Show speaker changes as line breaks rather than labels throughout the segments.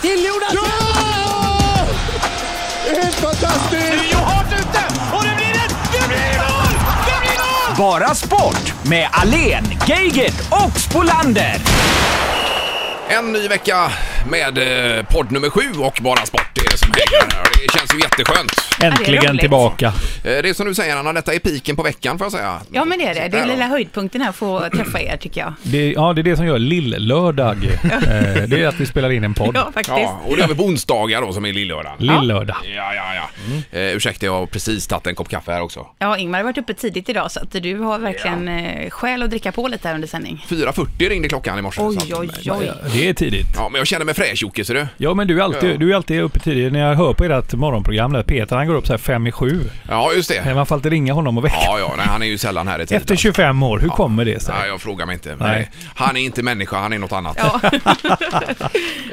till Jonas!
Ja! Det är helt fantastiskt!
Rio hårt ute och det blir ett... Det blir mål! Det blir mål!
Bara sport med Alen, Geigert och Spolander.
En ny vecka med eh, podd nummer sju och bara sport det är det som hänger här. Det känns ju jätteskönt.
Äntligen
roligt.
tillbaka.
Eh, Det är som du säger Anna, detta är piken på veckan får jag säga.
Ja, men det är det. Det är
Där då.
lilla höjdpunkten här att få träffa er, tycker jag.
Det, ja, det är det som gör lill-lördag. Eh, det är att vi spelar in en podd.
Ja, faktiskt.
Ja, och det är väl på onsdagar då som är lillördagen.
Lill-lördag.
Ja, ja, ja. Eh, ursäkta, jag har precis tagit en kopp kaffe här också.
Ja, Ingmar har varit uppe tidigt idag, så att du har verkligen eh, skäl att dricka på lite här under sändning.
4.40 ringde klockan i morse.
Oj,
så att-
oj, oj.
Eh, Det är tidigt.
Ja, men jag känner mig fräsch Jocke, ser du?
Ja, men du är alltid, du är alltid uppe tidigt. När jag hör på ert morgonprogram, där Peter han går upp så här fem i sju.
Ja, just
Nej,
det.
Man får alltid ringa honom och väcka.
Ja, ja, nej, han är ju sällan här i tid.
Efter 25 år, hur kommer det sig?
Nej, jag frågar mig inte.
Nej.
Nej. Han är inte människa, han är något annat.
Ja.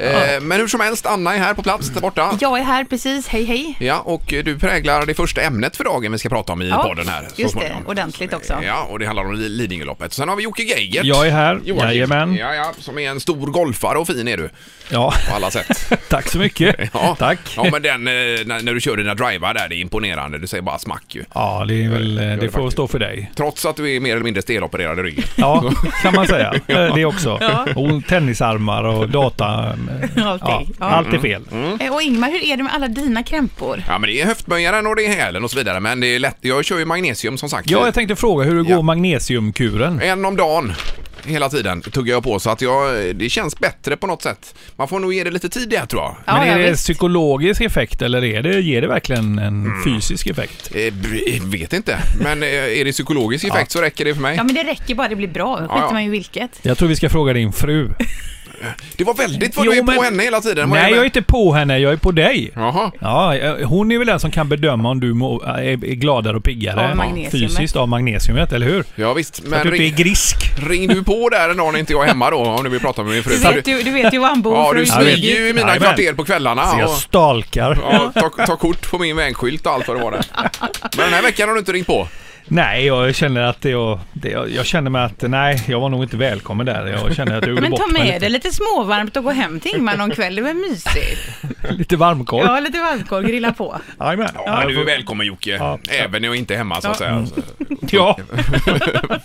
Eh, men hur som helst, Anna är här på plats där borta.
Jag är här precis, hej hej.
Ja, och eh, du präglar det första ämnet för dagen vi ska prata om i
Ja,
podden här. så
just det.
småningom.
Ordentligt också.
Ja, och det handlar om Li- Lidingöloppet. Sen har vi Jocke Geigert.
Jag är här,
Joakim.
jajamän.
Ja, ja, som är en stor golfare och fin är du
Ja,
på alla sätt.
tack så mycket.
Ja.
Tack.
Ja, men den, eh, när, när du kör dina drivar där, det är imponerande. Du säger bara smack ju.
Ja, det, är väl, eh,
gör
det,
det
får
faktiskt.
stå för dig.
Trots att du är mer eller mindre stelopererad i ryggen.
Ja, kan man säga. Eh, Det också. Och tennisarmar och data. Ja,
Allting. Ja.
allt är fel.
Mm.
Eh, Och Ingmar, hur är det med alla dina krämpor?
Ja, men det är höftböjaren och det är hälen och så vidare. Men det är lätt. Jag kör ju magnesium som sagt.
Ja, jag tänkte fråga hur det går
Ja.
magnesiumkuren.
En om dagen. Hela tiden tuggar jag på så att jag, eh, det känns bättre på något sätt. Man får nog ge det lite tid det här, tror jag.
Ja,
Men
ja,
är det
visst.
psykologisk effekt eller är det, ger det verkligen en
Mm.
fysisk effekt?
Eh, b- vet inte, men eh, är det psykologisk effekt så räcker det för mig.
Ja, men det räcker bara det blir bra. Skiter
ja.
man ju vilket.
Jag tror vi ska fråga din fru.
Det var väldigt vad du är
Jo,
på
men-
henne hela tiden. Vad
Nej,
det med-
jag är inte på henne, jag är på dig.
Jaha.
Ja, eh, hon är väl den som kan bedöma om du må, är är gladare och
Av
piggare
magnesiumet.
fysiskt av magnesiumet, eller hur?
Ja, visst,
Men att
men
du inte är
ring,
grisk.
ring du på där en dag när inte jag är hemma då om du vill prata med min fru.
Du
För
vet ju, du vet ju vad han bor.
ja,
för
du
att-
smyger.
smyger ju i mina
Jajamän.
kvarter på kvällarna.
Så jag
och-
stalkar.
Ja, ta, ta kort på min vägskylt och allt vad det var där. Men den här veckan har du inte ringt på.
Nej, jag känner att det, jag, det, jag, jag känner mig att nej, jag var nog inte välkommen där. Jag känner att jag gjorde
Men ta
bort mig
med dig lite småvarmt och gå hem till Ingmar någon kväll. Det var mysigt.
lite. Lite varmkorv.
Ja, lite varmkorv, grilla på.
Jajamän.
Ja, du är
jag får-
välkommen Jocke.
Ja.
Även när jag inte är hemma så att säga.
Ja,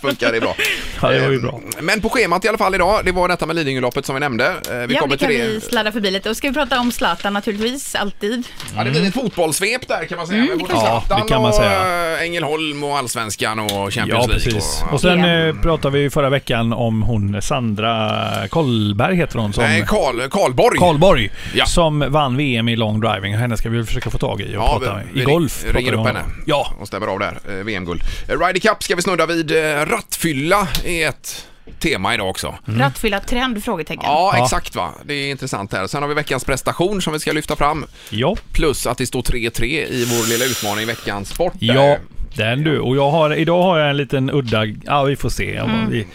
Funkar det bra. Eh,
ja, det var ju bra.
Men på schemat i alla fall idag, det var detta med Lidingöloppet som vi nämnde. Eh, Vi
ja,
kommer
det kan
till det.
vi sladda förbi lite. Och ska vi prata om Zlatan naturligtvis, alltid.
Ja, det blir ett fotbollssvep där kan man säga. med både
man säga.
Zlatan
Ja, det Mm. kan man säga.
och eh, Ängelholm och Allsvenskan och Champions
Ja,
League.
precis.
Och,
Och sen
Ja.
eh, pratade vi förra veckan om hon Sandra Kollberg heter hon som...
Nej, Karl, Karlborg.
Karlborg
Ja.
som vann VM i long driving. Henne ska vi väl försöka få tag i och prata med. I golf.
Vi
pratar
ringer
vi
upp
om.
henne.
Ja.
Och stämmer av där. Eh, VM-guld. Eh, Ryder Cup ska vi snudda vid. Eh, Rattfylla är ett tema idag också.
Rattfylla trend? Frågetecken.
Ja,
Mm. Ja.
exakt va. Det är intressant här. Sen har vi veckans prestation som vi ska lyfta fram.
Ja.
Plus att det står 3-3 i vår lilla utmaning veckans sport. där.
Ja. Den du. Och jag har, idag har jag en liten udda... Ja, vi får se. Jag-
Mm.
Vi,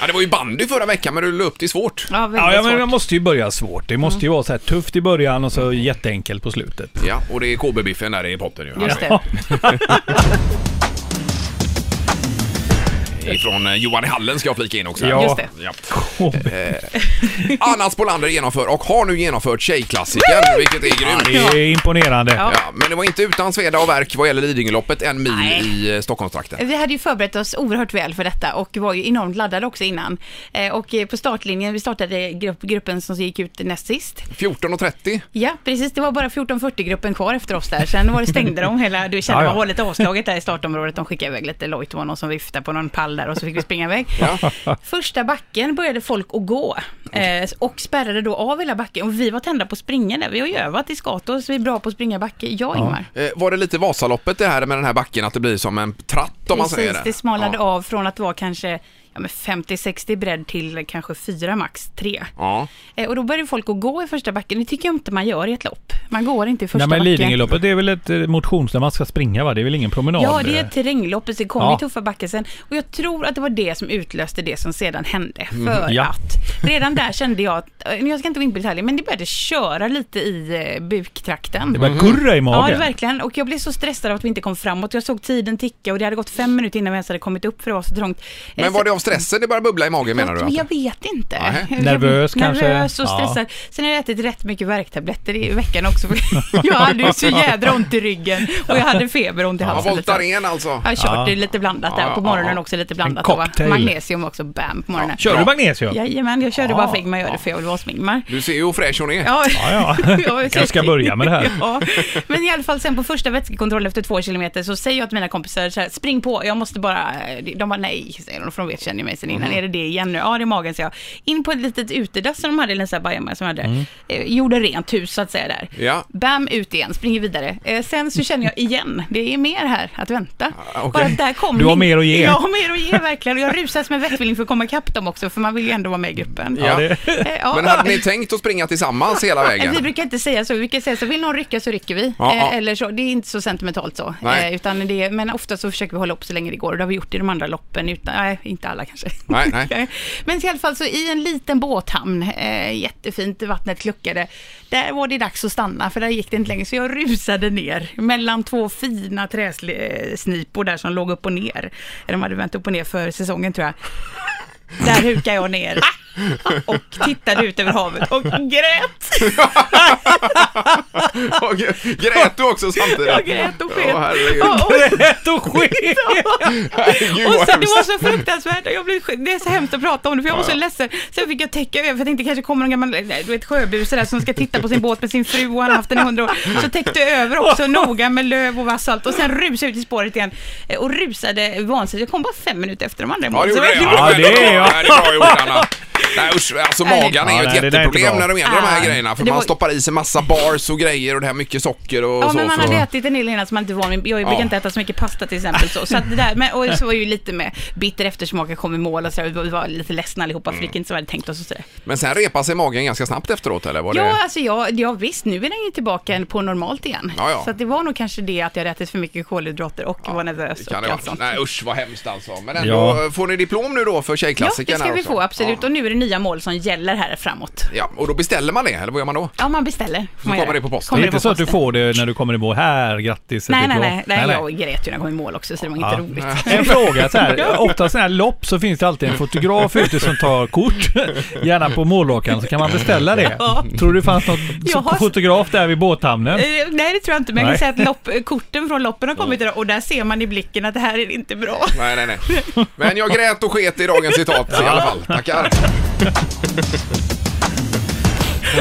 ja, det var ju bandy förra veckan men du la upp det svårt.
Ja, väldigt
ja, ja, men
svårt. Mm.
man måste ju börja svårt. Det måste ju vara så här tufft i början och så jätteenkelt på slutet.
Ja, och det är KB-biffen där i potten ju.
Just det.
Ja.
Ifrån eh, Johan i Hallen ska jag flika in också. här.
Ja.
Just det.
Ja.
KB.
Anna Spolander genomför och har nu genomfört Tjejklassikern, vilket är grymt.
Det är imponerande.
Ja.
Ja, men det var inte utan sveda och verk vad gäller Lidingöloppet en mil
Nej.
i eh, Stockholmstrakten.
Vi hade ju förberett oss oerhört väl för detta och var ju enormt laddade också innan. Eh, Och eh, på startlinjen, vi startade grupp, gruppen som gick ut näst sist.
14.30.
Ja, precis. Det var bara 1440-gruppen kvar efter oss där. Sen var det stängde de hela, du kände
Ja, ja.
man var lite avslaget där i startområdet. De skickade iväg lite lojt, det var någon som viftade på någon pall där och så fick vi springa iväg. Första backen började folk att gå eh, och spärrade då av hela backen. Och vi var tända på att springa där. Vi har ju övat i Skatås, så vi är bra på att springa backe. Jag, Ingmar.
Eh, Var det lite Vasaloppet det här med den här backen, att det blir som en tratt om man säger
Precis,
det?
det smalade
ja.
av från att vara kanske ja, men 50-60 bredd till kanske 4 max 3.
Ja.
Eh, och då började folk att gå i första backen. Det tycker jag inte man gör i ett lopp. Man går inte i första
Nej, men
backen.
Lidingöloppet det är väl ett eh, motions där man ska springa va? Det är väl ingen promenad? eh?
Ja, det är ett terränglopp och så kommer
Ja.
tuffa backar sen. Och jag tror att det var det som utlöste det som sedan hände.
Mm.
För
ja.
att redan där kände jag att, eh, jag ska inte gå in på detaljer, men det började köra lite i eh, buktrakten.
Det börjar kurra i
Ja,
magen.
det verkligen. Och jag blev så stressad av att vi inte kom framåt. Jag såg tiden ticka och det hade gått fem minuter innan vi ens hade kommit upp för det var så trångt. Eh,
Men var
så-
det av stressen det börjar bubbla i magen menar du?
Jag,
att-
jag vet inte.
Nej.
Jag-
Nervös kanske?
Nervös och
Ja.
stressad. Sen har jag ätit rätt mycket värktabletter i veckan också. för jag hade ju så jädra ont i ryggen och jag hade feber och ont i
Ja,
halsen. lite.
Voltaren alltså.
Jag har kört det är lite blandat där.
Ja,
På
ja,
morgonen
ja.
också lite blandat. då, va?
cocktail.
Magnesium också, bam, på morgonen.
Kör du magnesium?
Jajamän, jag körde bara
Ja.
flegma gör det för jag vill vara som Ingmar.
Du ser ju hur fräsch hon är.
Ja,
Ja, ja.
Jag är
kanske ska
svettig.
börja med det här.
Ja. Men i alla fall sen på första vätskekontrollen efter två kilometer så säger jag till mina kompisar så här, spring på, jag måste bara, de bara nej, säger de, för de vet, känner mig sen
Mm.
innan, är det det igen nu? Ja, det är magen, säger jag. In på ett litet utedass som de hade, eller en bajamaj som de hade,
Mm.
eh, gjorde rent hus så att säga där.
Ja.
Bam, ut igen, springer vidare. Eh, sen så känner jag igen, det är mer här att vänta.
Ah, okej.
Bara att där kom
Du har
min-
mer att ge.
Jag har mer att ge verkligen, och jag rusas med vettvilling för att komma ikapp dem också, för man vill ju ändå vara med i gruppen.
Ja.
det-
Eh, ja.
Men hade ni tänkt att springa tillsammans hela
Vi
vägen?
brukar inte säga så, vi brukar säga så, vill någon rycka så rycker vi.
Ja, ja.
Eh, Eller så, det är inte så sentimentalt så.
Nej.
Eh, Utan det, men ofta så försöker vi hålla upp så länge det går och det har vi gjort i de andra loppen. Utan, nej, inte alla kanske.
Nej, nej.
men i alla fall så i en liten båthamn, eh, jättefint, vattnet kluckade. Där var det dags att stanna för där gick det inte längre. Så jag rusade ner mellan två fina träsnipor där som låg upp och ner. De hade vänt upp och ner för säsongen tror jag. Där hukade jag ner och tittade ut över havet och grät.
Och g- Grät du också samtidigt?
Jag grät och sket.
Åh, herregud.
Ja, och-
Rätt och skit!
Herregud,
och
vad
sen, det var
hemskt.
så fruktansvärt, och jag blev, det är så hemskt att prata om det för jag var så ledsen. Sen fick jag täcka över, för jag tänkte kanske kommer någon gammal du vet, sjöbuse där som ska titta på sin båt med sin fru och han har haft den i hundra år. Så täckte jag över också noga med löv och vass och allt och sen rusade jag ut i spåret igen eh, och rusade vansinnigt. Jag kom bara fem minuter efter de andra i
Ja,
mål.
det
Så
gjorde det.
jag-
Ja,
Ja, det är jag.
Nej, det är bra gjort, Anna. Nej usch, alltså magen är
Ja,
ju ett
nej, det där är inte
jätteproblem
bra.
när de gäller de här
Ah.
grejerna. För
Det
man
var-
stoppar i sig massa bars och grejer och det här mycket socker och
Ja,
så.
men man
för-
hade ätit en del innan som man inte är van vid. Jag brukar
Ja.
inte äta så mycket pasta till exempel. Så, så att det där, men, och så var ju lite med bitter eftersmak, jag kom i mål och så där. Vi var lite ledsna allihopa,
Mm.
för det gick inte som vi hade tänkt oss och sådär.
Men sen repar sig magen ganska snabbt efteråt eller? Var det...
Ja, alltså jag, ja, visst, nu är den ju tillbaka på normalt igen.
Ja, ja.
Så att det var nog kanske det att jag hade ätit för mycket kolhydrater och var nervös
Kan
och
det
allt
vara.
sånt.
Nej usch vad hemskt alltså. Men ändå,
Ja.
får ni diplom nu då för
Ja,
Tjejklassikern?
det ska
här
vi
också?
få, absolut.
Ja.
Och nu är det nya mål som gäller här framåt.
ja, och då beställer man det eller vad gör man då?
Ja, man beställer. Så
kommer det på posten.
Det är inte så att du får det typ, när du kommer i mål. Här, grattis! ett
Nej, nej,
diplom.
nej, nej, jag grät ju när jag kom i mål också, så det var inte
Ja.
roligt.
En fråga så här. Ofta sådana här lopp så finns det alltid en fotograf ute som tar kort. Gärna på mållockan så kan man beställa det.
Ja.
Tror du det fanns någon
Jag har-
fotograf där vid båthamnen?
Eh, Nej, det tror jag inte, men jag kan
Nej.
säga att lopp, korten från loppen har kommit idag och där ser man i blicken att det här är inte bra.
Nej, nej, nej. Men jag grät och sket i dagens citat i alla fall. Tackar.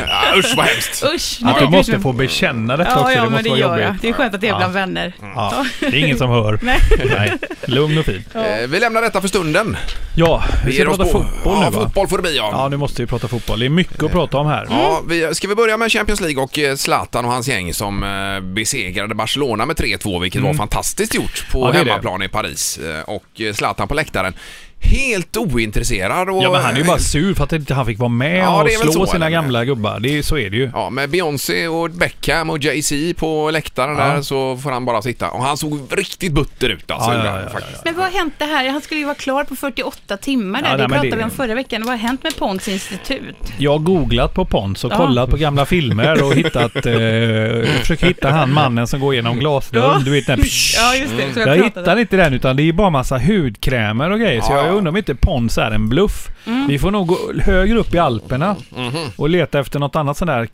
Ja, usch vad hemskt.
Usch, nu
Att
fick
du
vi
måste
liksom-
få bekänna detta
Ja,
också,
ja,
det
men det
måste vara
gör jag.
jobbigt.
Det är skönt att det är
Ja.
bland vänner.
Ja, det är ingen som hör.
Nej.
Nej. Lugn och fin.
Eh, Vi lämnar detta för stunden.
Ja, vi
Vi ger
ska
oss
prata
på.
fotboll
ja,
nu va?
fotboll får det bli
Ja,
ja.
nu måste vi prata fotboll. Det är mycket att prata om här.
ja vi, ska vi börja med Champions League och eh, Zlatan och hans gäng som eh, besegrade Barcelona med 3-2 vilket var fantastiskt gjort på
Mm. Ja, det är det.
hemmaplan i Paris. Eh, Och eh, Zlatan på läktaren. Helt ointresserad och...
Ja, men han är ju bara sur för att inte han fick vara med
Ja,
och
det är väl
slå
så,
sina
eller?
gamla gubbar. Det är, så är det ju.
Ja, med Beyoncé och Beckham och Jay-Z på läktaren där så får han bara sitta. Och han såg riktigt butter ut alltså.
Ja, ja,
ibland,
ja,
faktiskt.
Men vad har hänt det här? Han skulle ju vara klar på 48 timmar där.
Ja, nej,
det
men
pratade
det-
vi om förra veckan. Vad har hänt med Pons institut?
Jag har googlat på Pons och
Ja.
kollat på gamla filmer och hittat... Eh, jag försöker hitta han mannen som går genom glasdörren.
Ja.
Du vet den...
Ja, just det. Så
Jag
pratade om.
hittar inte den utan det är bara massa hudkrämer och grejer. Så
Ja, ja.
jag undrar om inte Pons är en bluff.
Mm.
Vi får nog gå högre upp i Alperna
Mm-hmm.
och leta efter något annat sånt där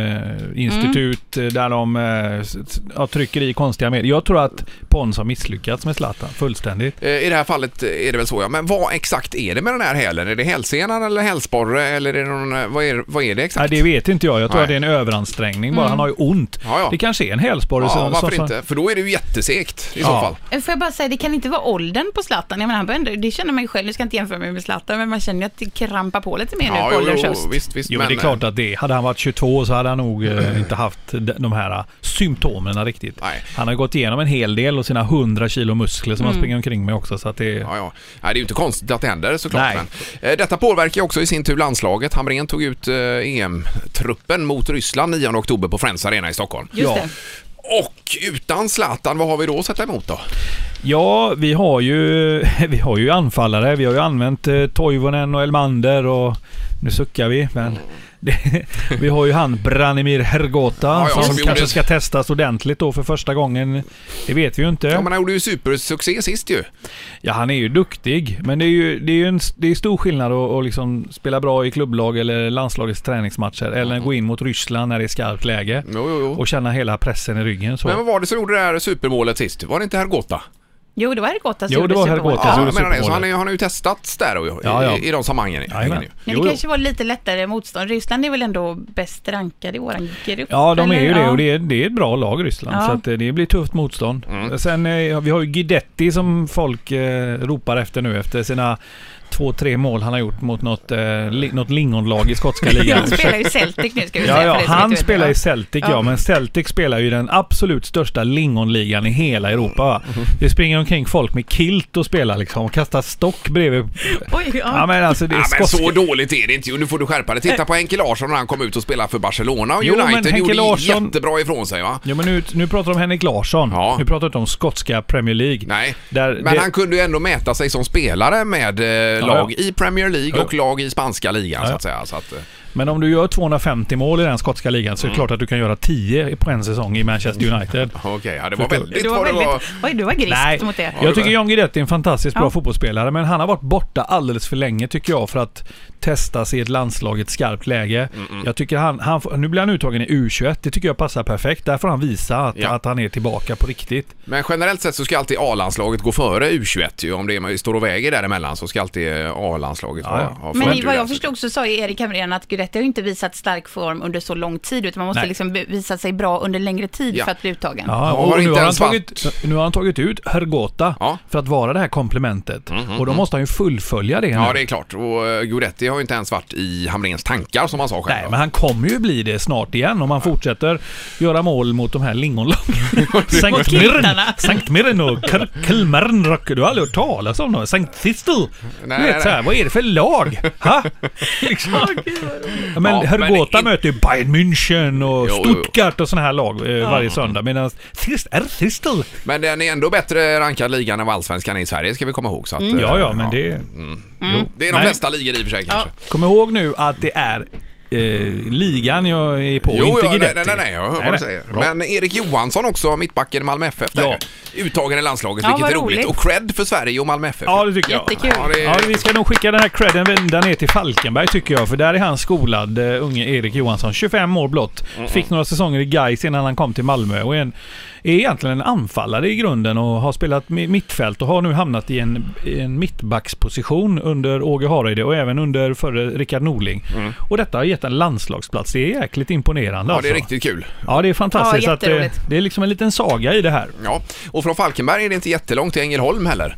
kryoginstitut
Mm.
där de eh, s- s- ja, trycker i konstiga medel. Jag tror att Pons har misslyckats med Zlatan fullständigt.
Eh, I det här fallet är det väl så ja. Men vad exakt är det med den här hälen? Är det hälsenan eller hälsporre eller är det någon, eh, vad, är, vad är det
Nej,
exakt?
det vet inte jag. Jag tror
Nej.
att det är en överansträngning bara.
Mm.
Han har ju ont.
Ja, ja.
Det kanske är en hälsporre.
ja,
som- som-
varför
som-
inte? För då är det ju jättesegt i så
Ja.
fall.
Eh, Får jag bara säga, det kan inte vara åldern på Zlatan. Jag menar, han börjar ändå- det känner man ju själv, nu ska jag inte jämföra mig med Zlatan, men man känner ju att det krampar på lite mer nu på ålderns höst.
visst, visst.
Jo, men det är
eh,
klart att det. Hade han varit 22 så hade han nog eh, inte haft de- de här eh, symptomen riktigt.
Nej.
Han har gått igenom en hel del och sina 100 kilo muskler som han springer omkring med också. Så att det,
eh, Ja, ja. Nej, det är ju inte konstigt att det händer såklart.
Nej.
Men, eh, detta påverkar ju också i sin tur landslaget. Hamrén tog ut eh, EM-truppen mot Ryssland 9 oktober på Friends Arena i Stockholm.
Just
Ja.
det.
Och utan Zlatan, vad har vi då att sätta emot då?
Ja, vi har ju, vi har ju anfallare. Vi har ju använt eh, Toivonen och Elmander och nu suckar vi. Men det, vi har ju han Branimir Hergota
ja, som
som
gjorde
kanske
det.
ska testas ordentligt då för första gången. Det vet vi ju inte.
Ja, men han gjorde ju supersuccé sist ju.
Ja, han är ju duktig, men det är ju det är ju en, det är stor skillnad att, att liksom spela bra i klubblag eller landslagets träningsmatcher eller gå in mot Ryssland när det är skarpt läge
Mm. Jo, jo, jo.
och känna hela pressen i ryggen. Så.
Men vad var det som gjorde det här supermålet sist? Var det inte Hergota?
Jo, det var Hergota som
Jo,
gjorde
det var
supermålet.
Hergota.
Ja,
gjorde
jag menar det. Så
supermålet.
han, är, han har ju testats där och, i,
Ja, ja.
i de sammanhangen.
Jajamän.
Men
ju.
det
Jo, jo.
kanske var lite lättare motstånd. Ryssland är väl ändå bäst rankade i våran grupp?
Ja, de är
eller?
ju det
Ja.
och det är, det är ett bra lag Ryssland.
Ja.
Så att eh, det blir tufft motstånd.
Mm.
Sen eh, vi har ju Guidetti som folk eh, ropar efter nu efter sina två, tre mål han har gjort mot något, eh, li, något lingonlag i skotska ligan.
Han spelar ju Celtic nu ska vi
Ja,
säga.
ja,
för dig som inte
han
vet det,
spelar
va?
i Celtic ja.
Ja.
men Celtic spelar ju den absolut största lingonligan i hela Europa. Va?
Mm.
Det springer omkring folk med kilt och spelar liksom och kastar stock bredvid.
Oj, ja.
Ja men alltså det är
Ja, men
skotska-
så dåligt är det inte ju. Nu får du skärpa dig. Titta på Henke Larsson när han kom ut och spelade för Barcelona och
Jo, men
United.
Henke
gjorde
Larsson-
jättebra ifrån sig va?
Ja, men nu, nu pratar de om Henrik Larsson.
Ja.
Nu pratar vi inte om skotska Premier League.
Nej,
Där
men
det-
han kunde ju ändå mäta sig som spelare med eh, lag i Premier League
Ja.
och lag i spanska ligan så att säga. Så att, eh,
Men om du gör 250 mål i den skotska ligan så är
Mm.
det klart att du kan göra 10 på en säsong i Manchester United.
Okej, ja, det var väldigt
Du var
vad det var.
väldigt... Oj, du var griskt
Nej,
mot det.
jag tycker John Guidetti är en fantastiskt bra
Ja.
fotbollsspelare men han har varit borta alldeles för länge tycker jag för att testas i ett landslag i ett skarpt läge. Jag tycker han, han, får- nu blir han uttagen i U21, det tycker jag passar perfekt. Där får han visa att,
Ja.
att han är tillbaka på riktigt.
Men generellt sett så ska alltid A-landslaget gå före U21 ju. Om det är, står och väger däremellan så ska alltid eh, A-landslaget
Ja,
ha,
ja.
ha
Men
fördel.
i vad jag förstod så sa ju Erik Hamrén att Guidetti har ju inte visat stark form under så lång tid utan man måste
Nej.
liksom be- visa sig bra under längre tid
Ja.
för att bli uttagen.
Ja,
Han
och
har
nu,
inte
har han
ens
tagit, nu har han tagit ut Hergota
Ja. Mm-hmm.
för att vara det här komplementet. och då måste han ju fullfölja det nu.
Ja, det är klart. Och eh, Guidetti har ju inte ens varit i Hamrens tankar som han sa själv.
Nej, men han kommer ju bli det snart igen om han fortsätter göra mål mot de här lingonlagen. Sankt Mirren,
killarna.
Sankt Mirren och Kilmernrock. Du har aldrig hört talas om dem? Sankt Sistel? Du
Nej, nej,
vet så här, vad är det för lag? Ha? Liksom. Ja, men
Ja,
Hergota
men det-
möter ju Bayern München och
Jo, jo.
Stuttgart och sådana här lag eh, varje söndag. Medan Sist är Sistel.
Men den är ändå bättre rankad ligan än vad allsvenskan är i Sverige ska vi komma ihåg. Så att, eh,
Mm. Ja, ja, men det...
Det är de
Nej.
flesta ligor i och för sig kanske.
Kom ihåg nu att det är eh, ligan jag är på,
Jo,
inte
ja, nej,
Guidetti.
nej, nej, nej, jag hör vad
nej.
du säger.
Bra.
Men Erik Johansson också, mittbacken i Malmö FF, där,
Ja.
uttagen i landslaget,
Ja,
vilket är
vad
roligt.
roligt.
Och cred för Sverige och Malmö FF.
Ja, det tycker jag.
Jättekul.
Ja, det-
Ja, vi ska nog skicka den här credden vända ner till Falkenberg tycker jag, för där är han skolad, eh, unge Erik Johansson. 25 år blott. Fick några säsonger i Gais innan han kom till Malmö och är, en, är egentligen en anfallare i grunden och har spelat mi- mittfält och har nu hamnat i en, i en mittbacksposition under Åge Hareide och även under förre Rickard Norling. Och detta har gett en landslagsplats. Det är jäkligt imponerande
Mm. Ja, det
alltså.
är riktigt kul.
Ja, det är fantastiskt.
Ja,
att det,
jätteroligt.
det är liksom en liten saga i det här.
Ja. Och från Falkenberg är det inte jättelångt till Ängelholm heller.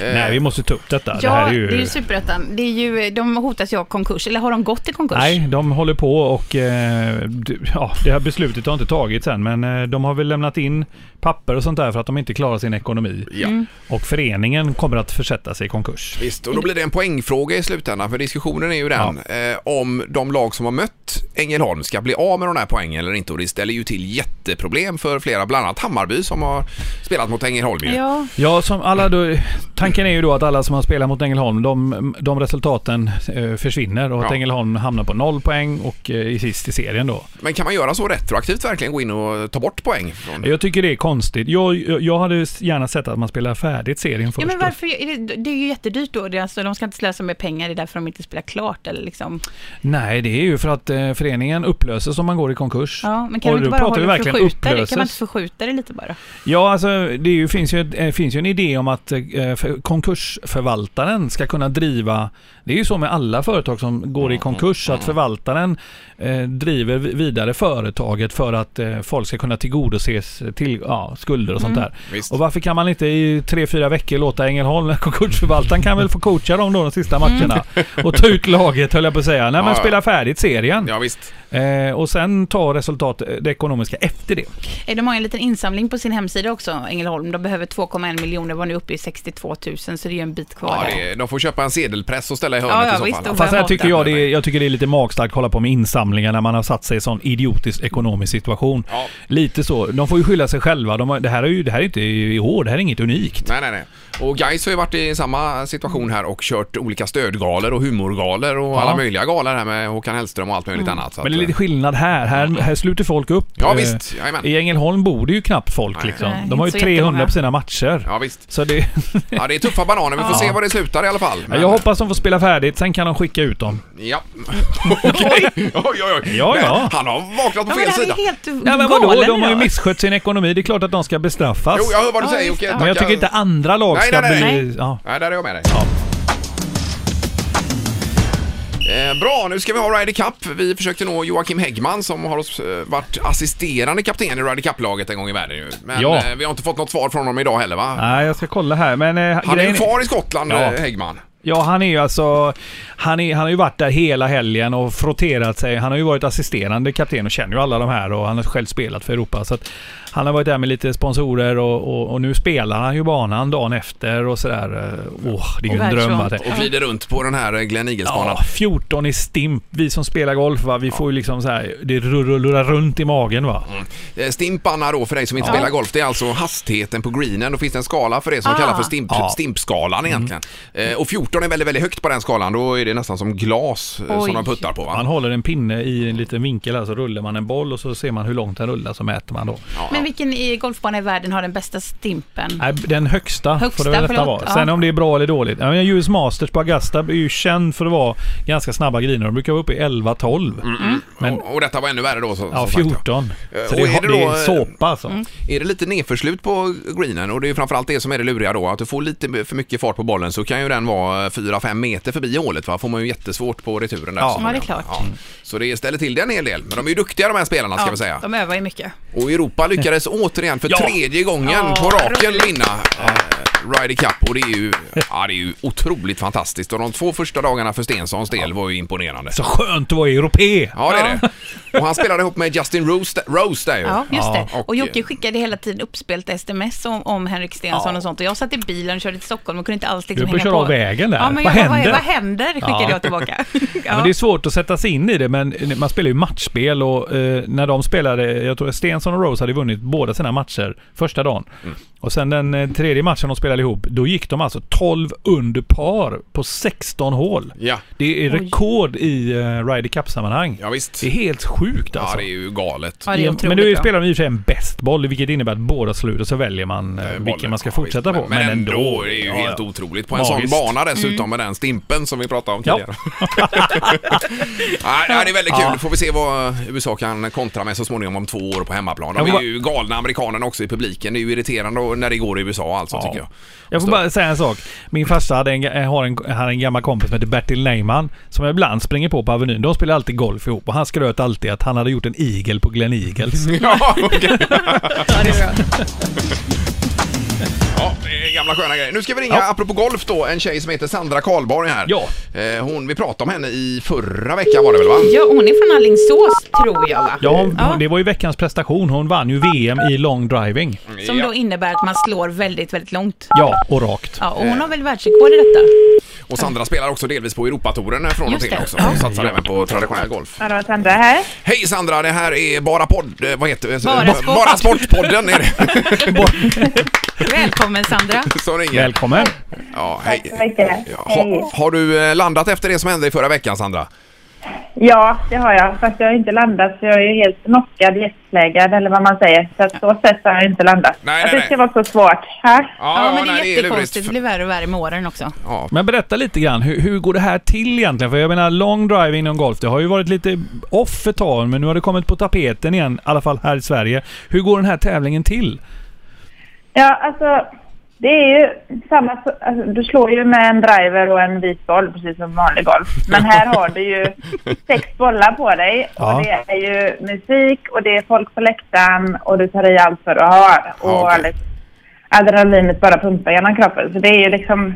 Eh.
Nej, vi måste ta upp detta. det
Ja,
här är ju...
superettan. Det är ju, de hotas ju av konkurs, eller har de gått i konkurs?
Nej, de håller på och eh, d- ja, det här beslutet har inte tagits än men eh, de har väl lämnat in papper och sånt där för att de inte klarar sin ekonomi.
Ja.
Mm.
Och föreningen kommer att försätta sig i konkurs.
Visst, och då blir det en poängfråga i slutändan, för diskussionen är ju den eh, om de lag som har mött Ängelholm ska bli av med de här poängen eller inte. Och det ställer ju till jätteproblem för flera, bland annat Hammarby som har spelat mot Ängelholm ju.
Ja,
Ja, som alla då, tanken är ju då att alla som har spelat mot Ängelholm, de, de resultaten eh, försvinner och att
Ja.
Ängelholm hamnar på noll poäng och eh, i sist i serien då.
Men kan man göra så retroaktivt verkligen, gå in och ta bort poäng? Från...
Jag tycker det är konstigt. Jag, jag jag hade gärna sett att man spelar färdigt serien först.
ja men
då.
varför? Är det, det är ju jättedyrt då. Det är alltså, de ska inte slösa med pengar, det är därför de inte spelar klart eller liksom.
Nej, det är ju för att eh, föreningen upplöses om man går i konkurs.
Ja, men kan
Och
du inte
då
bara
pratar vi
hålla
verkligen
förskjuta det? Kan man inte
upplöses.
förskjuta det lite bara?
Ja, alltså det är ju, finns, ju, ett- eh, finns ju en idé om att eh, för- konkursförvaltaren ska kunna driva, det är ju så med alla företag som går i konkurs, att förvaltaren eh, driver vi- vidare företaget för att eh, folk ska kunna tillgodoses till ja, skulder och sånt där.
Visst.
Och varför kan man inte i tre, fyra veckor låta Ängelholm, konkursförvaltaren kan väl få coacha dem då de sista matcherna och ta ut laget höll jag på att säga. Nej men
Ja, ja.
spela färdigt serien.
Ja, visst.
Eh, och sen tar resultat eh, det ekonomiska efter det.
Eh, De har en liten insamling på sin hemsida också, Ängelholm. De behöver 2,1 miljoner, var nu uppe i 62 000, så det är ju en bit kvar.
Ja,
där.
det, de får köpa en sedelpress och ställa i
Ja,
hörnet
ja,
i så
visst,
fall.
och
Fast här
Vem
tycker
orkar?
jag, det är, jag tycker det är lite magstarkt att hålla på med insamlingar när man har satt sig i sån idiotisk ekonomisk situation.
Ja.
Lite så. De får ju skylla sig själva. De har, det här är ju det här är inte i år, det här är inget unikt.
Nej, nej, nej. Och Gais har ju varit i samma situation här och kört olika stödgalor och humorgalor och alla möjliga galor här med Håkan Hellström och allt möjligt annat. Så
Mm. Men
att,
det är
eh,
lite skillnad här. Här, här sluter folk upp.
Ja,
Eh,
visst. Jajamän.
I Ängelholm bor det ju knappt folk
Nej.
liksom.
Nej,
De har ju
inte så jättemånga.
300 på sina matcher.
Ja, visst.
Så det,
Ja, det är tuffa bananer. Vi får se var det slutar i alla fall. Men-
jag hoppas de får spela färdigt, sen kan de skicka ut dem.
Ja. Okej. Oj, oj, oj.
Ja, ja.
Han har vaknat på
Ja, men
fel
det här
sida.
är helt
Ja, men vadå?
galen
De har ju
idag.
misskött sin ekonomi. Det är klart att de ska bestraffas.
Jo, jag hör vad du
Ja,
säger
visst,
Jocke.
ja.
Tack,
Men jag tycker
jag-
inte andra lag
Nej,
ska
nej, nej.
bli... Ja.
Nej, där är jag med dig.
Ja.
Eh, bra, nu ska vi ha Ryder Cup. Vi försökte nå Joakim Häggman som har oss, eh, varit assisterande kapten i Ryder Cup-laget en gång i världen. ju. Men
Ja.
eh, vi har inte fått något svar från honom idag heller va?
Nej, jag ska kolla här. Men, eh,
Han är ju
grejen-
kvar i Skottland,
Ja.
eh, Häggman.
Ja, han är ju alltså... Han, är, han har ju varit där hela helgen och frotterat sig. Han har ju varit assisterande kapten och känner ju alla de här och han har själv spelat för Europa. Så att han har varit där med lite sponsorer och, och, och nu spelar han ju banan dagen efter och sådär. Eh, Åh, det är ju
Och
en dröm. att-
världsrond.
Och glider runt på den här eh, Glenn Eagles-banan.
Ja, 14 i stimp. Vi som spelar golf, va? vi får ju liksom så här, det rull- rullar runt i magen. Va?
Eh, Stimp Anna då, för dig som inte spelar golf, det är alltså hastigheten på greenen. Då finns det en skala för det som
Ah. Mm.
kallas för stimp,
Ja.
stimpskalan egentligen. Eh, och 14 är väldigt, väldigt högt på den skalan. Då är det nästan som glas eh, som
Oj.
de puttar på va?
Man håller en pinne i en liten vinkel här så rullar man en boll och så ser man hur långt den rullar så mäter man då.
Men vilken i golfbana i världen har den bästa stimpen?
Nej, den högsta,
Högsta,
får det väl nästan
förlåt,
vara.
ja.
Sen om det är bra eller dåligt. Ja, men US Masters på Augusta är ju känd för att vara ganska snabba griner. De brukar vara uppe i 11-12. Men
Och, och detta var ännu värre då. Mm, Så,
ja,
som sagt, va?
14.
Eh,
Så
och
det,
är
är,
det
det,
då,
är
eh,
såpa alltså.
Mm.
Är det lite nedförslut på greenen och det är ju framförallt det som är det luriga då att du får lite för mycket fart på bollen så kan ju den vara 4-5 meter förbi hålet va? Får man ju jättesvårt på returen där.
Ja.
Så
Ja, det är klart.
Så det ställer till det en hel del. Men de är ju duktiga de här spelarna ska vi säga.
de övar ju mycket.
Och Europa lyckades återigen för
Ja.
tredje gången
Ja,
på raken
roligt.
vinna eh, Ryder Cup och det är, ju, ja, det är ju otroligt fantastiskt och de två första dagarna för Stensons del var ju imponerande.
Så skönt att vara europé!
Ja, det är det. Och han spelade ihop med Justin Rose, Rose där ju.
Ja, just
Ja,
det.
och-
Och Jocke skickade hela tiden uppspelat sms om, om Henrik Stenson
Ja.
och sånt. Och jag satt i bilen och körde till Stockholm och kunde inte alls liksom
Du får
hänga
köra
på.
av vägen där.
Ja, men
Vad
jag, bara,
händer?
Vad, vad händer? Skickade
Ja.
jag tillbaka.
Ja. Men det är svårt att sätta sig in i det, men man spelar ju matchspel och eh, när de spelade, jag tror Stensson och Rose hade vunnit båda sina matcher första dagen.
Mm.
Och sen den eh, tredje matchen de spelade ihop, då gick de alltså 12 under par på 16 hål.
Ja.
Det är rekord i eh, Ryder Cup-sammanhang.
Ja, visst.
Det är helt sjukt
Ja,
alltså.
det är ju galet.
Ja, det är otroligt
men nu
bra.
spelar de i och för sig en bäst boll, vilket innebär att båda slutar så väljer man eh, vilken
Bollen.
man ska
Ja, visst.
fortsätta på.
Men, men ändå, det är ju
Ja,
helt
ja.
otroligt. På en
Magiskt.
sån bana dessutom
Mm.
med den stimpen som vi pratade om
Ja.
tidigare. nej, nej, det är väldigt kul. Får vi se vad USA kan kontra med så småningom om två år på hemmaplan.
Jag
De
får
är
bara-
ju galna amerikanerna också i publiken. Det är ju irriterande när det går i USA alltså
Ja.
tycker jag.
Jag får
Förstår.
bara säga en sak. Min farsa hade en, eh, har en, han har en gammal kompis som heter Bertil Neyman som jag ibland springer på på Avenyn. De spelar alltid golf ihop och han skröt alltid att han hade gjort en igel på Glen Eagles.
Ja, okej.
Ja, det är bra.
ja, det är gamla sköna grejer. Nu ska vi ringa,
Ja.
apropå golf då, en tjej som heter Sandra Karlborg här.
Ja.
Eh, Hon, vi pratade om henne i förra veckan var det väl va?
ja, hon är från Alingsås tror jag va?
Ja, hon, det var ju veckans prestation. Hon vann ju VM i long driving.
Som
Ja.
då innebär att man slår väldigt, väldigt långt.
Ja, och rakt.
Ja, och hon har väl världsrekord i detta?
Och Sandra spelar också delvis på Europatouren eh, från och
Just
till
det.
också.
Ja.
Hon satsar även på traditionell golf.
Hallå, Sandra här.
Hej Sandra, det här är Bara podd... eh, Vad heter det?
Bara Sport.
Bara Sportpodden är det
Välkommen Sandra!
som ringer.
Välkommen!
Ja,
Tack så
hej.
mycket. Hej.
Ha, har du eh, landat efter det som hände i förra veckan Sandra?
Ja, det har jag. Fast jag har inte landat så jag är ju helt knockad, jetlaggad eller vad man säger. Så att så sätt har jag inte landat.
Nej,
att
nej,
det ska
nej.
vara så svårt. Ha?
Ja, men det
nej,
är jättekonstigt.
lurigt.
Det blir värre och värre med åren också.
Ja.
Men berätta lite grann, hur, hur går det här till egentligen? För jag menar long driving inom golf, det har ju varit lite off ett tag men nu har det kommit på tapeten igen, i alla fall här i Sverige. Hur går den här tävlingen till?
Ja, alltså det är ju samma... Alltså, du slår ju med en driver och en vit boll precis som vanlig golf. Men här har du ju sex bollar på dig
Ja.
och det är ju musik och det är folk på läktaren och du tar i allt vad du har.
Ja,
Och
okej.
liksom, adrenalinet bara pumpar genom kroppen. Så det är ju liksom...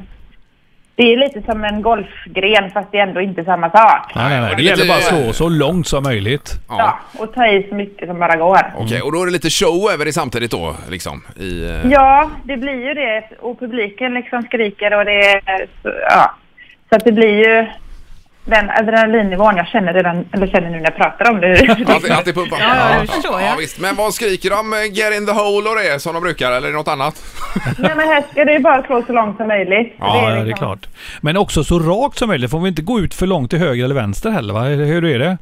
Det är lite som en golfgren fast det är ändå inte samma sak.
Nej, nej, nej.
det
Det
är
gäller
lite-
bara att slå så långt som möjligt.
Ja, och ta i så mycket som bara går.
Okej, och då är det lite show över det samtidigt då, liksom? I, eh,
Ja, det blir ju det och publiken liksom skriker och det är... så- Ja. Så att det blir ju den adrenalinnivån jag känner redan, eller känner nu när jag pratar om det.
Att, det- att det pumpar?
Ja, ja, det förstår jag.
Ja, visst. Men vad skriker de? eh, Get in the hole och det som de brukar, eller är det något annat?
Nej men här ska det ju bara slå så långt som möjligt.
Ja, det är
liksom-
klart. Men också så rakt som möjligt. Får vi inte gå ut för långt till höger eller vänster heller va? Eller Hur är det?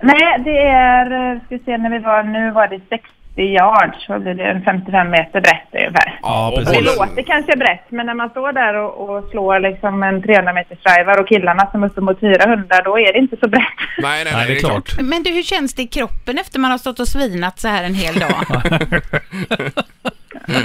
Nej, det är, eh, ska vi se, när vi var, nu var det 60 yards, vad blir det, en 55 meter brett ungefär.
Ja,
och
precis.
Det
bollen-
låter kanske brett, men när man står där och, och slår liksom en 300 meters driver och killarna som är uppemot 400, då är det inte så brett.
Nej, nej,
Nej, det är klart.
Men du, hur känns det i kroppen efter man har stått och svinat så här en hel dag?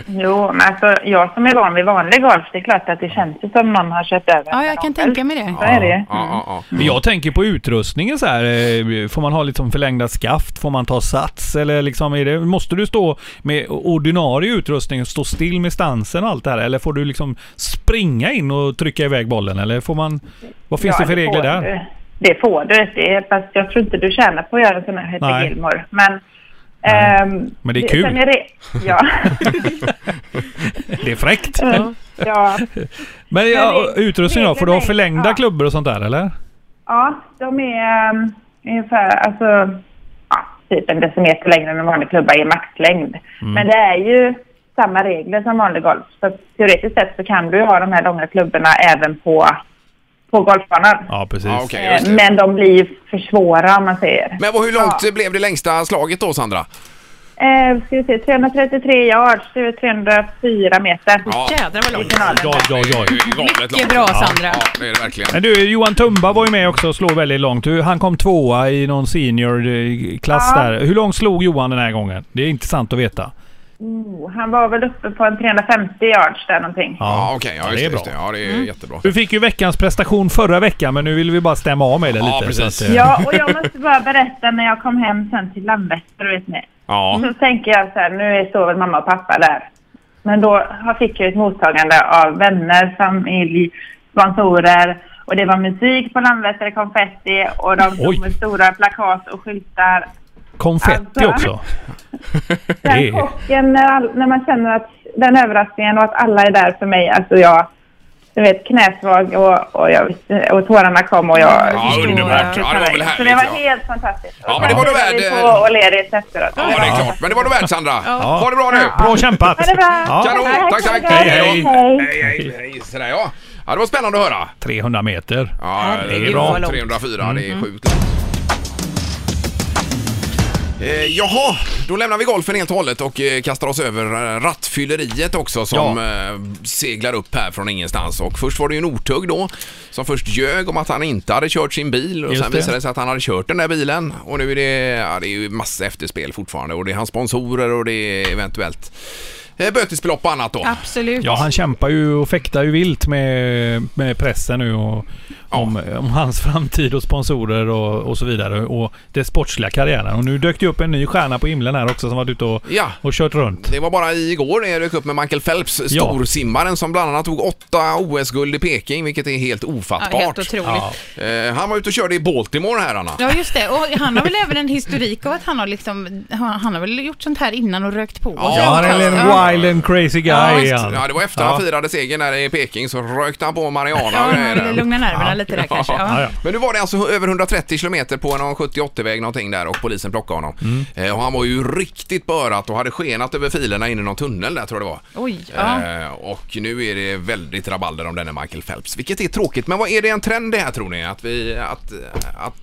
Jo, men alltså jag som är van vid vanlig golf, det är klart att det känns ju som någon har kört över
Ja, jag kan tänka mig det.
Så är det ju.
Ja, ja, ja.
Jag tänker på utrustningen så här. eh, Får man ha liksom förlängda skaft? Får man ta sats? Eller liksom är det, måste du stå med ordinarie utrustning och stå still med stansen och allt det här? Eller får du liksom springa in och trycka iväg bollen? Eller får man... Vad finns
Ja,
det för regler
får
där?
du. Det får du. Det är, fast jag tror inte du tjänar på att göra en sån här Hette
Nej.
Gilmore. Men, ehm,
Men det är kul.
sen det, ja.
Det är fräckt.
ja.
Men ja,
det-
utrustning då? Får du ha
reglerna är-
förlängda
ja.
klubbor och sånt där eller?
ja, de är um, ungefär alltså, ja, typ en decimeter längre än en vanlig klubba i maxlängd.
Mm.
Men det är ju samma regler som vanlig golf. Så teoretiskt sett så kan du ju ha de här långa klubborna även på, på golfbanan.
Ja, precis.
Ja, okej, just
Mm.
Eh,
det.
Men de blir ju för svåra om man säger.
Men vad- hur långt eh, blev det längsta slaget då, Sandra?
Eh, ska vi se, 333 yards, det är 304 meter.
Jädrar vad långt.
Ja, ja, ja.
Det är ju galet
Mycket
långt.
bra,
Ja,
Sandra.
Ja, det är det verkligen.
Men du, Johan Tumba var ju med också och slog väldigt långt. Du, Han kom tvåa i någon seniorklass
Ja.
där. Hur långt slog Johan den här gången? Det är intressant att veta.
Oh, han var väl uppe på en 350 yards där någonting.
Ja, okej. Ja,
Ja,
just
det är
det. Just det.
bra.
Ja, det är
Mm.
jättebra.
Du fick ju veckans prestation förra veckan, men nu vill vi bara stämma av med det
Ja,
lite.
precis.
Så att, eh,
Ja, och jag måste bara berätta när jag kom hem sen till Landvetter, vet ni.
Ja.
Mm. Så tänker jag så här, nu är- står väl mamma och pappa där. Men då har- fick jag ett mottagande av vänner, familj, sponsorer. Och det var musik på Landvetter, det kom konfetti och de
Oj.
stod med stora plakat och skyltar.
Konfetti
Alltså.
också. Det
Den
är-
chocken när, all, när man känner att den överraskningen och att alla är där för mig. Alltså jag, du vet knäsvag och, och, jag, visste- och tårarna kom och jag...
Ja,
förstår
underbart.
jag.
Ja, det var väl
så det var
härligt. Ja.
helt fantastiskt.
Ja, men det var då värd,
Vi
eh,
på och ledigt efteråt.
Ja, det är klart. Men det var du värd, Sandra. Ha det bra nu.
Bra kämpat!
Ha det bra!
Kanon. Tack, tack.
ha det bra.
Hej, hej.
Hej, hej, hej. Sådär, ja. Ja, det var spännande att höra.
300 meter.
Ja, det är
Herregud,
bra.
vad långt. Mm.
304, det är sjukt långt. Eh, jaha, då lämnar vi golfen helt och hållet och eh, kastar oss över eh, rattfylleriet också som eh, seglar upp här från ingenstans. Och först var det ju Northug då som först ljög om att han inte hade kört sin bil och
Just
sen
det.
visade det sig att han hade kört den där bilen. Och nu är det, ja, det är ju massa efterspel fortfarande och det är hans sponsorer och det är eventuellt eh, bötesbelopp och annat då.
Absolut.
Ja, han kämpar ju och fäktar ju vilt med, med pressen nu och om, om hans framtid och sponsorer och, och så vidare och det sportsliga karriären. Och nu dök det upp en ny stjärna på himlen här också som varit ute och,
Ja.
och kört runt.
Det var bara igår när jag dök upp med Michael Phelps, storsimmaren som bland annat tog åtta OS-guld i Peking, vilket är helt
Ja,
ofattbart.
helt otroligt. Ja.
Eh, han var ute och körde i Baltimore här, Anna.
just det. Och han har väl även en historik av att han har liksom, han han har väl gjort sånt här innan och rökt på.
Ja,
och
Ja,
sånt.
han är en
Ja.
wild and crazy guy
Ja,
är
visst.
han.
Ja, det var efter han
Ja.
firade segern där i Peking så rökte han på
Ja,
Mariana och
han
grejer
ville
där.
lugna nerverna lite där kanske.
Ja, ja.
Ja.
Men nu var det alltså över 130 kilometer på en 70-80-väg någonting där och polisen plockade honom.
Mm.
Eh, och han var ju riktigt på örat och hade skenat över filerna in i någon tunnel där tror jag det var.
Oj, ja.
Eh, och nu är det väldigt rabalder om denne Michael Phelps, vilket är tråkigt. Men vad är det en trend det här tror ni? Att, vi, att, att,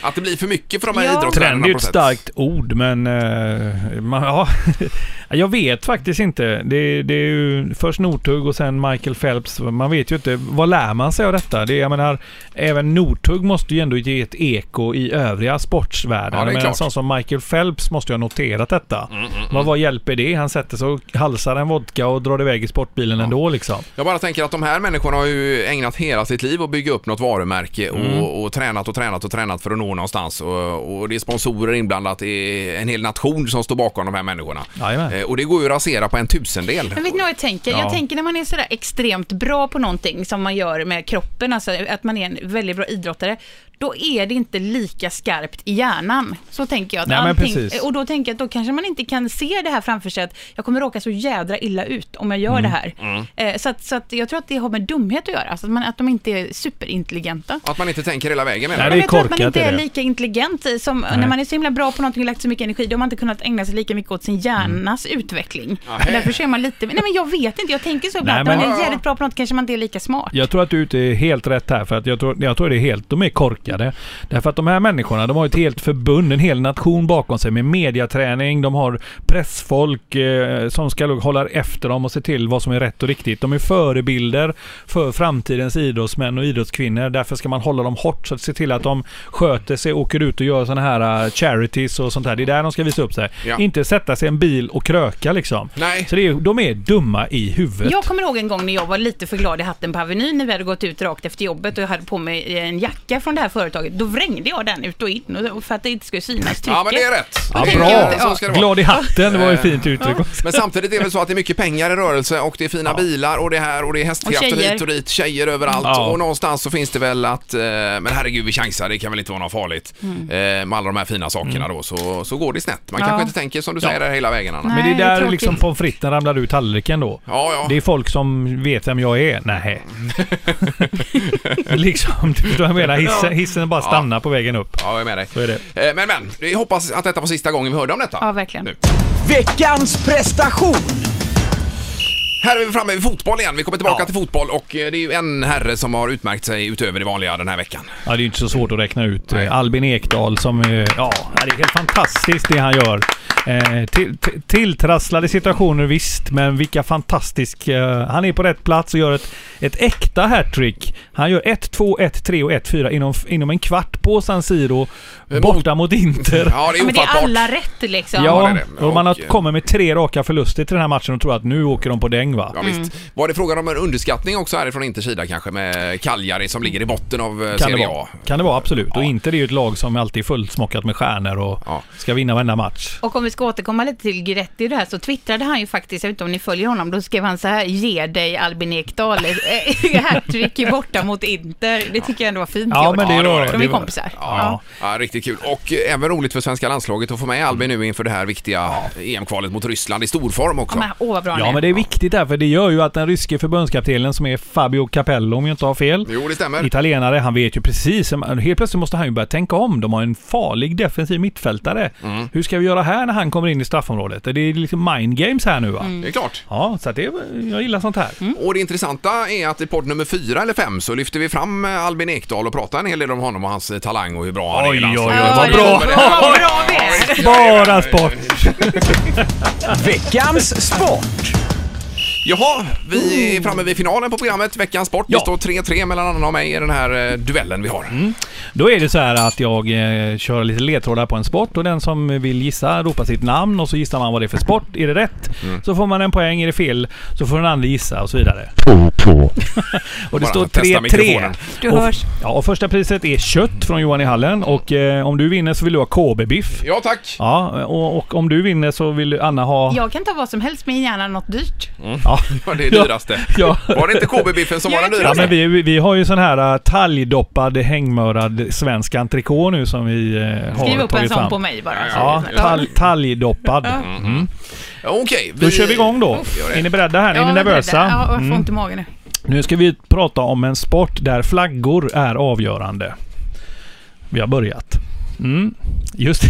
att det blir för mycket för de här
Ja.
idrottsstjärnorna
Trend är ju ett
på sätt?
starkt ord men... eh, man, ja. Jag vet faktiskt inte. Det, det är ju först Northug och sen Michael Phelps. Man vet ju inte. Vad lär man sig av detta? Det, jag menar, även Northug måste ju ändå ge ett eko i övriga sportsvärlden.
Ja, det är
jag menar,
klart. Mm,
en sån som Michael Phelps måste ju ha noterat detta. Vad, vad hjälper det? Han sätter sig och halsar en vodka och drar iväg i sportbilen ändå liksom.
Jag bara tänker att de här människorna har ju ägnat hela sitt liv att bygga upp något varumärke och, och tränat och tränat och tränat för att nå någonstans. Och, och det är sponsorer inblandat, det är en hel nation som står bakom de här människorna.
Jajamän.
Eh, och det går ju att rasera justera på en tusendel.
Men vet ni vad jag tänker?
Ja.
Jag tänker när man är sådär extremt bra på någonting som man gör med kroppen, alltså att man är en väldigt bra idrottare, då är det inte lika skarpt i hjärnan. Så tänker jag. Att
Nej, men
allting-
precis.
och då tänker jag att då kanske man inte kan se det här framför sig, att jag kommer råka så jädra illa ut om jag gör
Mm.
det här. Eh, Så, att, så att jag tror att det har med dumhet att göra, alltså att, man, att de inte är superintelligenta.
Att man inte tänker hela vägen menar
Nej,
du?
det är
jag tror att man
korkat,
inte
är
är
det.
lika intelligent som när man är så himla bra på någonting och lagt så mycket energi, då har man inte kunnat ägna sig lika mycket åt sin hjärnas
Mm.
utveckling. Men därför så är man lite, nej men jag vet inte, jag tänker så ibland,
Nej,
när
men-
man är jävligt bra på något kanske man inte är lika smart.
Jag tror att du är ute helt rätt här för att jag tror, jag tror det är helt, de är korkade. Därför att de här människorna, de har ett helt förbund, en hel nation bakom sig med mediaträning, de har pressfolk eh, som ska hålla efter dem och se till vad som är rätt och riktigt. De är förebilder för framtidens idrottsmän och idrottskvinnor. Därför ska man hålla dem hårt så att se till att de sköter sig, åker ut och gör sådana här eh, charities och sånt här. Det är där de ska visa upp sig.
Ja.
Inte sätta sig i en bil och kröka liksom.
Nej.
Så det är, de är dumma i huvudet.
Jag kommer ihåg en gång när jag var lite för glad i hatten på Avenyn när vi hade gått ut rakt efter jobbet och jag hade på mig eh, en jacka från det här företaget. Då vrängde jag den ut och in och- för att det inte skulle synas trycket.
Ja, men det är rätt.
Ja,
Det är-
bra.
Så ska det vara. Eh.
Glad i hatten, det var ju ett fint uttryck.
Men samtidigt är det väl så att det är mycket pengar i rörelse och det är fina bilar och det här och det är hästkraft och,
Och tjejer.
hit och dit, tjejer överallt.
Ja.
Och någonstans så finns det väl att, eh, men herregud vi chansar, det kan väl inte vara något farligt.
Mm.
Eh, med alla de här fina sakerna då så, så går det snett. Man kanske inte tänker som du säger där hela vägen Anna.
Nej.
Men det är där
tråkigt.
liksom pommes fritesen ramlar ur tallriken då.
Ja, Mm. ja.
Det är folk som vet vem jag är. Nej. liksom, du förstår vad jag menar. Hissen, hissen bara stannar på vägen upp.
Ja, jag är med dig.
Så är det.
Eh, Men, men, vi hoppas att detta var sista gången vi hörde om detta.
Ja, verkligen.
Nu.
Veckans prestation!
Här är vi framme vid fotboll igen. Vi kommer tillbaka till fotboll och eh, det är ju en herre som har utmärkt sig utöver det vanliga den här veckan.
Ja, det är ju inte så svårt att räkna ut. Eh, Albin Ekdal som... eh, Ja, det är helt fantastiskt det han gör. Eh, till, till- tilltrasslade situationer visst, men vilka fantastisk... Eh, han är på rätt plats och gör ett, ett äkta hattrick. Han gör 1, 2, 1, 3 och 1, 4 inom, inom en kvart på San
Eh,
Siro. Borta mot Inter.
Ja, det är
Ja, men det är
ofattbart.
alla rätt liksom.
Ja,
det är det.
och man har
Och, eh,
kommer med tre raka förluster till den här matchen och tror att nu åker de på däng va?
Ja, visst. Var det frågan om en underskattning också härifrån Inters sida kanske med Cagliari som ligger i botten av eh,
Kan det,
Serie
vara.
A?
kan det vara, absolut.
Ja.
Och inte det är ju ett lag som alltid är fullsmockat med stjärnor och
Ja.
ska vinna varenda match.
Och om vi ska återkomma lite till Guidetti och det här så twittrade han ju faktiskt, jag vet inte om ni följer honom, då skrev han så här, ge dig Albin Ekdal, eh, hattrick i borta mot Inter. Det tycker jag ändå var fint
Ja,
gjort.
men det
det var
var
det.
De är
det var-
kompisar.
Ja.
Ja, riktigt kul. Och eh, även roligt för svenska landslaget att få med Albin nu inför det här viktiga eh, EM-kvalet mot Ryssland i storform också.
Ja, men, åh, vad bra han
Ja, men det är viktigt där, för det gör ju att den ryske förbundskaptenen som är Fabio Capello, om jag inte har fel,
Jo, det stämmer.
italienare, han vet ju precis. Helt plötsligt måste han ju börja tänka om. De har en farlig defensiv mittfältare. Hur ska vi göra här när han kommer in i straffområdet? Det är liksom mind games här nu va?
Det är klart.
Ja, så att det, jag gillar sånt här.
Och det intressanta är att i podd nummer fyra eller fem så lyfter vi fram eh, Albin Ekdal och pratar en hel del om honom och hans eh, talang och hur bra han är
Oj,
i landslaget.
oj, oj,
Ja,
vad
det-
bra.
Vad bra det är.
Bara sport!
Veckans sport!
Jaha, vi är framme vid finalen på programmet Veckans Sport. Det
Ja. Mm.
står 3-3 mellan Anna och mig i den här eh, duellen vi har.
Då är det så här att jag eh, kör lite ledtrådar på en sport och den som vill gissa ropar sitt namn och så gissar man vad det är för sport. Är det rätt
Mm.
så får man en poäng. Är det fel så får den andra gissa och så vidare. och det
Bara
står
testa
3-3.
mikrofonen.
Du
Och-
hörs.
Ja, och första priset är kött från Johan i hallen och eh, om du vinner så vill du ha KB-biff.
Ja, tack.
Ja, och, och om du vinner så vill Anna ha...
Jag kan ta vad som helst, men gärna något dyrt.
Ja.
Ja, det är dyraste.
Ja.
Var det inte KB-biffen som var
Jag
den
tror
Ja,
dyraste?
men vi, vi har ju sån här äh, talgdoppad hängmörad svensk entrecote nu som vi äh, har
Skriv upp en
tagit
sån
fram.
på mig bara. så
Ja,
är det snällt.
tal, talgdoppad. Mm.
Okej,
Då kör vi igång då.
Gör det.
Är ni beredda här?
Mm. Ja,
är ni
vad
nervösa?
rädda. Ja, jag får
Mm.
ont i magen nu.
Nu ska vi prata om en sport där flaggor är avgörande. Vi har börjat. Mm, just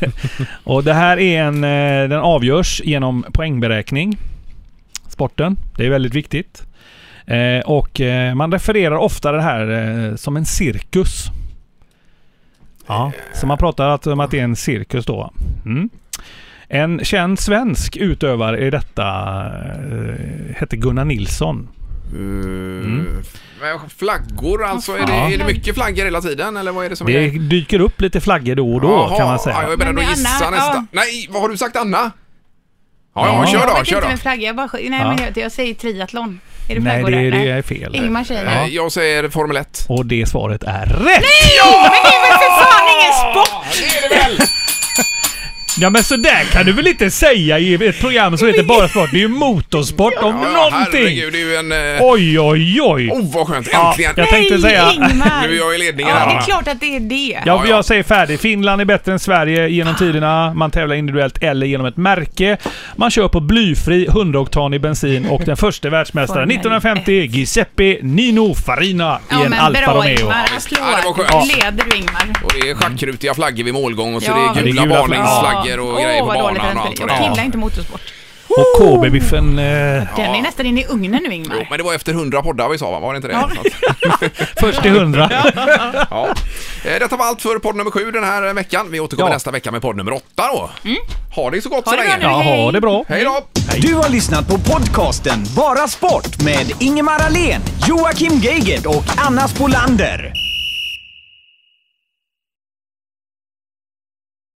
det. Och det här är en... eh, Den avgörs genom poängberäkning. Sporten. Det är väldigt viktigt. Eh, Och eh, man refererar ofta det här eh, som en cirkus. Ja, så man pratar att- om att det är en cirkus då. Mm. En känd svensk utövare i detta eh, hette Gunnar Nilsson.
Mm. Men Flaggor alltså, är det,
Ja.
är det mycket flaggor hela tiden eller vad är det som
Det
är
dyker upp lite flaggor då och då
Jaha,
kan man
ja,
säga.
jag är beredd
Men
att
det är
gissa
Anna,
nästa.
ja.
Nej, vad har du sagt Anna? Ja,
Ja.
ja kör
jag
då,
vet
kör
inte
då.
med flagga. Jag, bara, sk- nej, men jag, jag säger triathlon. Är det
Nej,
flaggor
det,
där?
det är fel.
Ingmar säger det.
Eh, Jag säger Formel 1.
Och det svaret är rätt!
Ja! Men det är väl för fan ingen sport!
Det är det väl!
Ja men sådär kan du väl inte säga i ett program som heter Bara Sport. Det är ju motorsport om någonting.
herregud, det är ju en... eh,
Oj, oj, oj.
Oh, vad skönt!
Ja,
Äntligen!
jag tänkte
Nej,
säga-
Ingmar!
Nu är jag i ledningen
Ja,
här.
det är klart att det är det.
Ja,
ja. Ah.
jag säger färdig. Finland är bättre än Sverige genom tiderna. Man tävlar individuellt eller genom ett märke. Man kör på blyfri 100-oktanig bensin och den första världsmästaren
Formel
1950 Giuseppe Nino Farina i
Ja,
en
men
Alfa
bra
Romeo.
Ingmar.
Ja, det var
Applåd.
skönt.
Du leder du Ingmar.
Och det är schackrutiga flaggor vid målgång och så
Ja.
det är
Ja,
det är
gula
gula flaggor.
varningsflaggor och
Åh,
grejer på
vad
banan
dåligt
och
att
allt
jag
vad
spelar.
det
Jag
är.
gillar inte motorsport.
Och KB-biffen... Eh,
Den är nästan inne i ugnen nu
Jo,
Ingmar.
men det var efter 100 poddar vi sa va? Var det inte det?
Ja.
först i 100.
Ja. Eh, Detta var allt för podd nummer sju den här veckan. Vi återkommer
Ja.
nästa vecka med podd nummer åtta då. Ha det så gott så
Mm. det bra
länge.
nu. Mm.
Ja, ha det bra.
Hej då!
Du har lyssnat på podcasten Bara Sport med Ingemar Ahlén, Joakim Geigert och Anna Spolander.